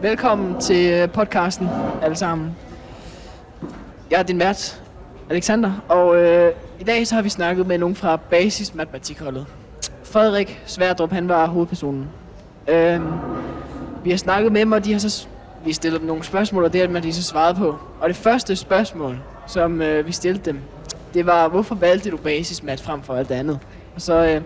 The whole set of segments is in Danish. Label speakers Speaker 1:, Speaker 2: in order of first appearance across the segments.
Speaker 1: Velkommen til øh, podcasten, alle sammen. Jeg er din vært, Alexander, og øh, i dag så har vi snakket med nogen fra Basis Matematikholdet. Frederik Sverdrup, han var hovedpersonen. Øh, vi har snakket med dem, og de har så s- vi stillet dem nogle spørgsmål, og det har de så svaret på. Og det første spørgsmål, som øh, vi stillede dem, det var, hvorfor valgte du Basis Mat frem for alt andet? Og så øh,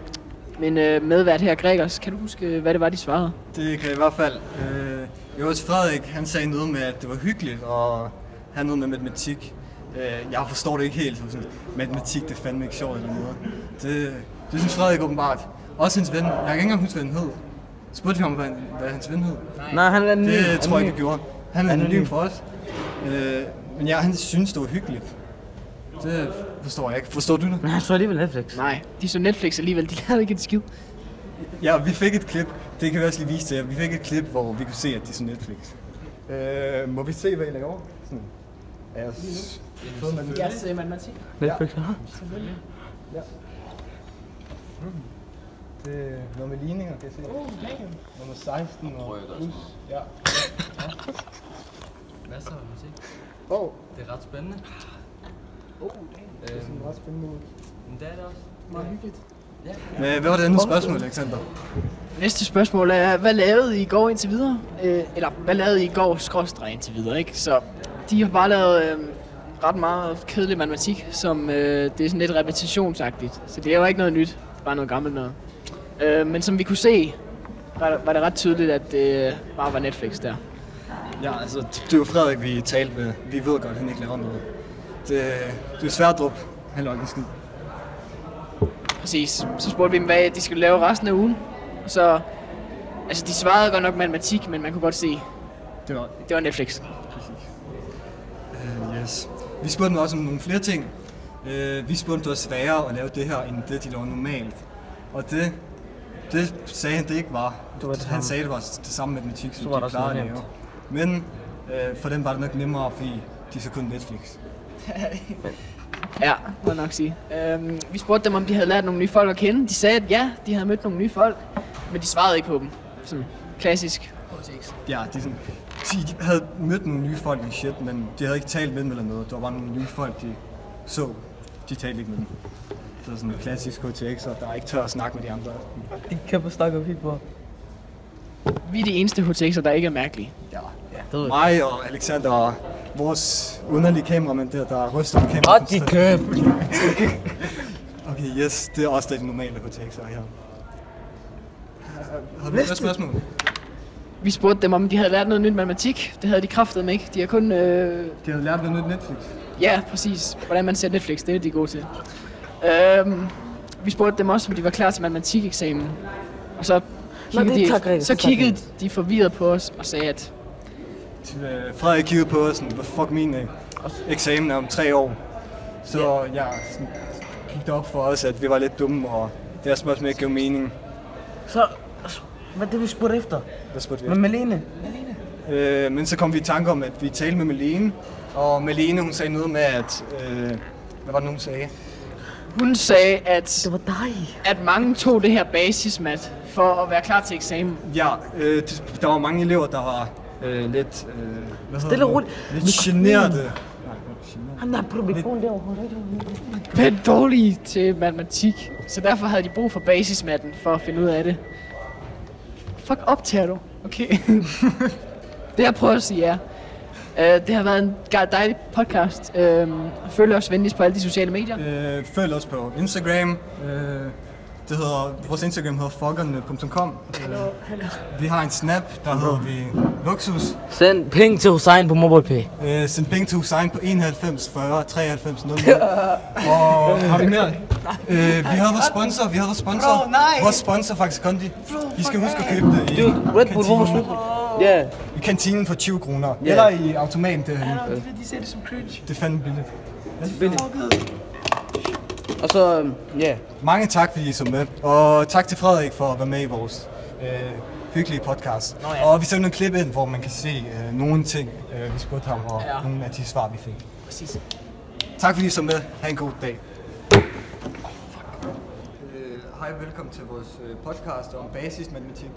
Speaker 1: min øh, medvært her, Gregers, kan du huske, hvad det var, de svarede?
Speaker 2: Det kan jeg i hvert fald. Øh, jo, til Frederik, han sagde noget med, at det var hyggeligt, og han noget med matematik. Øh, jeg forstår det ikke helt, som sådan, matematik, det er fandme ikke sjovt eller noget. Det, det synes Frederik åbenbart. Også hans ven, jeg kan ikke engang huske, hvad han hed. Spurgte vi ham, hvad, han- hvad hans ven hed?
Speaker 3: Nej, han er anonym.
Speaker 2: Det tror jeg ikke, vi
Speaker 3: Anonym.
Speaker 2: gjorde. Han er
Speaker 3: Anonym.
Speaker 2: anonym for os. Øh, men ja, han synes, det var hyggeligt. Det forstår jeg ikke. Forstår du det?
Speaker 3: Nej, jeg tror alligevel Netflix.
Speaker 1: Nej, de så Netflix alligevel, de lavede ikke en skid.
Speaker 2: Ja, vi fik et klip. Det kan vi også lige vise til jer. Vi fik et klip, hvor vi kunne se, at det er sådan Netflix. Øh, må vi se, hvad I laver? over? Sådan. Er jeg s- fået med den?
Speaker 1: Jeres øh, matematik.
Speaker 3: Netflix, ja.
Speaker 2: Det er noget med ligninger, kan jeg se. Nummer 16 og plus. Ja.
Speaker 4: Hvad så med musik?
Speaker 2: Åh, oh,
Speaker 4: Det er ret spændende.
Speaker 3: Oh,
Speaker 2: det er sådan ret spændende.
Speaker 4: Øhm, Men det er det også.
Speaker 1: Meget hyggeligt.
Speaker 2: Men hvad var det andet spørgsmål, Alexander?
Speaker 1: Næste spørgsmål er, hvad lavede I i går indtil videre? Øh, eller, hvad lavede I i går skråstreg indtil videre, ikke? Så de har bare lavet øh, ret meget kedelig matematik, som øh, det er sådan lidt repetitionsagtigt. Så det er jo ikke noget nyt, det er bare noget gammelt noget. Øh, men som vi kunne se, var, var det ret tydeligt, at det øh, bare var Netflix der.
Speaker 2: Ja, altså, det er jo Frederik, vi talte med. Vi ved godt, at han ikke laver noget. Det, det er Sverdrup. Han laver ikke en skid.
Speaker 1: Præcis. Så spurgte vi dem, hvad de skulle lave resten af ugen. Så, altså de svarede godt nok matematik, men man kunne godt se,
Speaker 2: Det var
Speaker 1: det var Netflix.
Speaker 2: Øh, yes. Vi spurgte dem også om nogle flere ting. Øh, vi spurgte, om det var sværere at lave det her, end det, de laver normalt. Og det, det sagde han, det ikke var.
Speaker 3: Det var det
Speaker 2: han
Speaker 3: samme.
Speaker 2: sagde, det var det samme matematik, som
Speaker 3: Så var der
Speaker 2: de
Speaker 3: også
Speaker 2: plejede at
Speaker 3: noget
Speaker 2: lave. Men
Speaker 3: nemt.
Speaker 2: øh, for dem var det nok nemmere, fordi de så kun Netflix.
Speaker 1: Ja, må jeg nok sige. Øhm, vi spurgte dem, om de havde lært nogle nye folk at kende. De sagde, at ja, de havde mødt nogle nye folk, men de svarede ikke på dem. Sådan klassisk.
Speaker 2: Ja, de, sådan, de havde mødt nogle nye folk i shit, men de havde ikke talt med dem eller noget. Det var bare nogle nye folk, de så. De talte ikke med dem. Så sådan en klassisk HTX, og der er ikke tør at snakke med de andre.
Speaker 3: De kan på snakke om på.
Speaker 1: Vi er de eneste HTX'er, der ikke er mærkelige.
Speaker 2: Ja.
Speaker 3: Ja, det ved jeg.
Speaker 2: Mig og Alexander og vores underlige kameramand der, der ryster på
Speaker 3: Og
Speaker 2: kameraet.
Speaker 3: de køb.
Speaker 2: Okay, yes, det er også det normale HTX'er her. Har du et spørgsmål?
Speaker 1: Vi spurgte dem, om de havde lært noget nyt matematik. Det havde de kraftet med ikke. De har kun... Øh...
Speaker 2: De har lært noget nyt Netflix.
Speaker 1: Ja, præcis. Hvordan man ser Netflix, det er de gode til. Øhm, vi spurgte dem også, om de var klar til matematikeksamen. Og så kiggede,
Speaker 3: det tager
Speaker 1: de,
Speaker 3: Gregers,
Speaker 1: så
Speaker 3: det tager
Speaker 1: kiggede
Speaker 3: Gregers.
Speaker 1: de forvirret på os og sagde, at
Speaker 2: Øh, Frederik kiggede på os, sådan, hvad fuck min øh, eksamen er om tre år. Så ja, sådan, gik det op for os, at vi var lidt dumme, og det her spørgsmål ikke gav mening.
Speaker 3: Så, hvad er det, vi spurgte efter?
Speaker 2: Hvad spurgte vi?
Speaker 3: Med Malene?
Speaker 2: Øh, men så kom vi i tanke om, at vi talte med Malene, og Malene hun sagde noget med, at... Øh, hvad var det, nu, hun sagde?
Speaker 1: hun sagde, at,
Speaker 3: Det var dig.
Speaker 1: at mange tog det her basismat for at være klar til eksamen.
Speaker 2: Ja, øh, det- der var mange elever, der var øh, lidt... Øh, hvad hedder
Speaker 3: Stille og
Speaker 2: det?
Speaker 3: roligt.
Speaker 2: Lidt
Speaker 3: Mikrofon.
Speaker 2: generede.
Speaker 3: Han har problemer derovre.
Speaker 1: pænt dårlige til matematik, så derfor havde de brug for basismatten for at finde ud af det. Fuck optager du? Okay. det jeg prøver at sige er, øh, det har været en ga- dejlig podcast. Øh, følg os venligst på alle de sociale medier.
Speaker 2: Øh, følg os på Instagram. Øh, det hedder, vores Instagram hedder fuckerne.com. Øh, vi har en snap, der hedder vi Luxus.
Speaker 3: Send penge til Hussein på MobilePay.
Speaker 2: Øh, send penge til Hussein på 91 40 93 00. Og har vi mere? Øh, vi havde vores sponsor, vi havde vores sponsor. Vores sponsor faktisk Kondi. I skal huske at købe det i
Speaker 3: Du, Red Bull, hvorfor
Speaker 2: kantinen,
Speaker 3: slut? Ja.
Speaker 2: i kantinen for 20 kroner. Eller i automaten derhenne.
Speaker 4: De ser det som cringe.
Speaker 2: Det er fandme billigt.
Speaker 3: Og så, øhm, ja.
Speaker 2: Mange tak, fordi I så med. Og tak til Frederik for at være med i vores øh, hyggelige podcast. Nå, ja. Og vi sendte nogle klip ind, hvor man kan se øh, nogle ting, øh, vi spurgte ham, og ja. nogle af de svar, vi fik.
Speaker 1: Præcis.
Speaker 2: Tak fordi I så med. Ha' en god dag. Øh, Hej og velkommen til vores øh, podcast om basismatematik.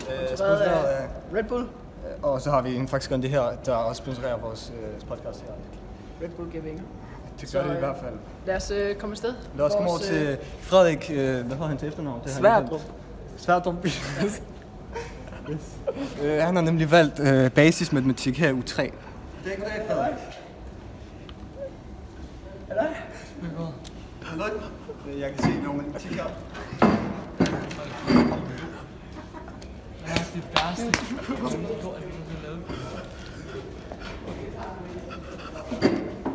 Speaker 2: Øh, sponsoreret af
Speaker 1: Red Bull?
Speaker 2: Og så har vi en faktisk det her, der også sponsorerer vores øh, podcast her.
Speaker 1: Red Bull giver vinger.
Speaker 2: Det
Speaker 1: Så,
Speaker 2: gør det i
Speaker 1: øh,
Speaker 2: hvert fald.
Speaker 1: Lad os øh, komme afsted.
Speaker 2: Lad os komme over
Speaker 1: Vores, øh,
Speaker 2: til Frederik, øh, hvad var han til efternavn? Det har jeg
Speaker 3: Sværdrup.
Speaker 2: glemt. Sværdrup. yes. Øh, han har nemlig valgt øh, basismatematik her i U3. Goddag, goddag Frederik. Hallo. Hallo. Jeg kan se nogle matematik her.
Speaker 4: Det værste.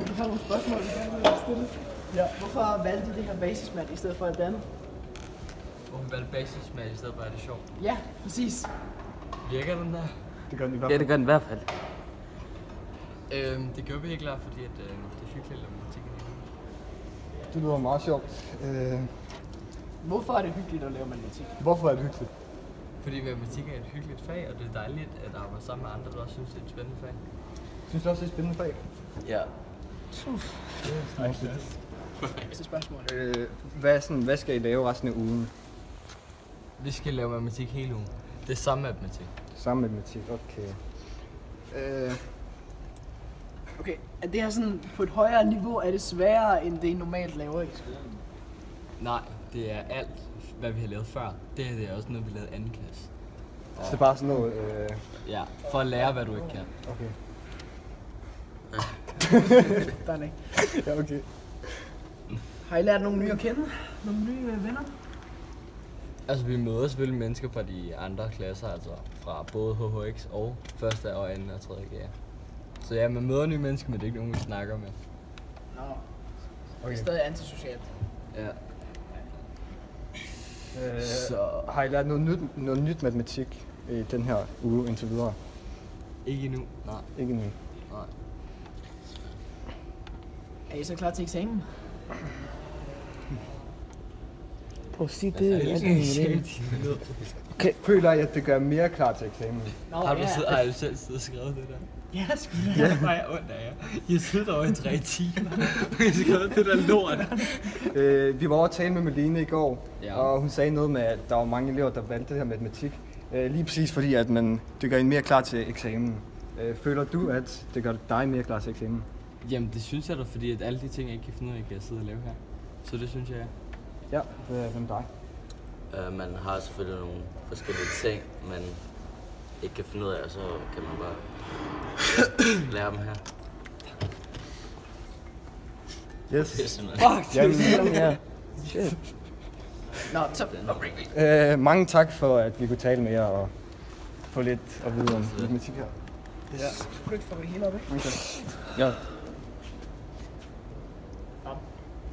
Speaker 1: Jeg har nogle spørgsmål, jeg gerne vil stille. Ja. Hvorfor valgte I det her basismat i stedet for et andet?
Speaker 4: Hvor vi valgte basismat i stedet for, at det er sjovt.
Speaker 1: Ja, præcis.
Speaker 4: Virker den der?
Speaker 2: Det gør den i hvert
Speaker 3: Ja,
Speaker 2: fald.
Speaker 3: det gør den i hvert fald.
Speaker 4: Øhm, det gjorde vi helt klart, fordi at, øh, det er hyggeligt at lave matematik. i det.
Speaker 2: Det lyder meget sjovt. Øh,
Speaker 1: Hvorfor er det hyggeligt at lave matematik?
Speaker 2: hvorfor er det hyggeligt?
Speaker 4: Fordi matematik er et hyggeligt fag, og det er dejligt at arbejde sammen med andre, der også synes, det er et spændende fag.
Speaker 2: Synes du også, det er et spændende fag?
Speaker 3: Ja.
Speaker 1: Næste spørgsmål.
Speaker 2: Øh, hvad, sådan, hvad skal I lave resten af ugen?
Speaker 4: Vi skal lave matematik hele ugen. Det er samme matematik.
Speaker 2: Samme matematik, okay. Øh,
Speaker 1: Okay, er det her sådan på et højere niveau, er det sværere, end det I normalt laver i skolen?
Speaker 4: Nej, det er alt, hvad vi har lavet før. Det her det er også noget, vi lavede i anden klasse.
Speaker 2: så det er bare sådan noget... Øh,
Speaker 4: Ja, for at lære, hvad du ikke kan.
Speaker 2: okay.
Speaker 1: Der er ikke.
Speaker 2: Ja, okay.
Speaker 1: Har I lært nogle nye at kende? Nogle nye øh, venner?
Speaker 4: Altså, vi møder selvfølgelig mennesker fra de andre klasser, altså fra både HHX og 1. og 2. og 3. G. Så ja, man møder nye mennesker, men det er ikke nogen, vi snakker med.
Speaker 1: Nå, no. okay. stadig antisocialt.
Speaker 4: Ja.
Speaker 2: Øh,
Speaker 4: Så
Speaker 2: Har I lært noget nyt, noget nyt matematik i den her uge indtil videre?
Speaker 4: ikke endnu. Nej,
Speaker 2: Ikke nu.
Speaker 4: nej.
Speaker 1: Er I så klar til eksamen?
Speaker 3: Prøv at sige det.
Speaker 4: Altså,
Speaker 3: er det en idé?
Speaker 2: Føler I, at det gør mere klar til eksamen?
Speaker 1: Nå,
Speaker 4: Har du, siddet, har du selv siddet og skrevet det der?
Speaker 1: Ja, sgu da.
Speaker 4: Ja. Det var jeg ondt af jer. I har siddet over i tre timer. I har skrevet det der lort.
Speaker 2: Øh, vi var over at tale med Malene i går,
Speaker 4: Ja.
Speaker 2: ja. og hun sagde noget med, at der var mange elever, der valgte det her matematik. Øh, lige præcis fordi, at man, det gør en mere klar til eksamen. Øh, føler du, at det gør dig mere klar til eksamen?
Speaker 4: Jamen, det synes jeg da, fordi at alle de ting, jeg ikke kan finde ud af, kan jeg sidde og lave her. Så det synes jeg er.
Speaker 2: Ja, øh, hvem dig?
Speaker 5: Øh, man har selvfølgelig nogle forskellige ting, man ikke kan finde ud af, og så kan man bare lære dem her.
Speaker 2: Yes.
Speaker 5: Det er simpelthen-
Speaker 2: Jamen, ja.
Speaker 1: Nå, så
Speaker 2: øh, mange tak for, at vi kunne tale med jer og få lidt at vide om matematik her.
Speaker 1: kunne du ikke få det hele op, ikke?
Speaker 2: Mange tak. Ja.
Speaker 1: Nå.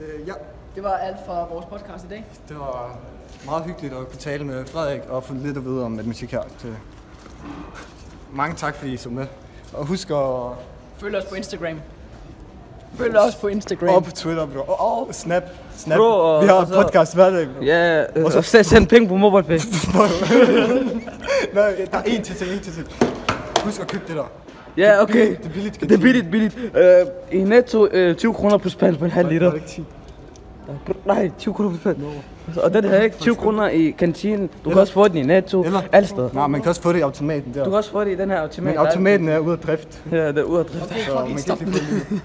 Speaker 2: Øh, ja.
Speaker 1: Det var alt for vores podcast i dag.
Speaker 2: Det var meget hyggeligt at kunne tale med Frederik og få lidt at vide om matematik her. Til. Mange tak, fordi I så med. Og husk at...
Speaker 1: Følg os på Instagram. Følg os på Instagram.
Speaker 2: Og på Twitter, bro. Og, og Snap. Snap.
Speaker 3: Bro, og-
Speaker 2: Vi har
Speaker 3: og
Speaker 2: en
Speaker 3: så-
Speaker 2: podcast hver dag, bro.
Speaker 3: Ja, øh, og så send- send penge på MobilePay.
Speaker 2: Nej, der er én til ting, én til ting. Husk at købe det der.
Speaker 3: Ja, okay.
Speaker 2: Det er billigt.
Speaker 3: Det er billigt, billigt. Øh, I netto øh, 20 kroner plus pand på en halv liter.
Speaker 2: Var det ikke 10?
Speaker 3: Nej, 20 kroner plus pand. Og den her ikke 20 kroner i kantinen. Du kan også få den i netto.
Speaker 2: Eller?
Speaker 3: Alle steder.
Speaker 2: Nej, man kan også få det i automaten der.
Speaker 3: Du kan også få det i den her automat.
Speaker 2: Men
Speaker 3: der er-
Speaker 2: automaten er ude af drift.
Speaker 3: Ja, det er ude af drift.
Speaker 2: Så man kan ikke lige få det.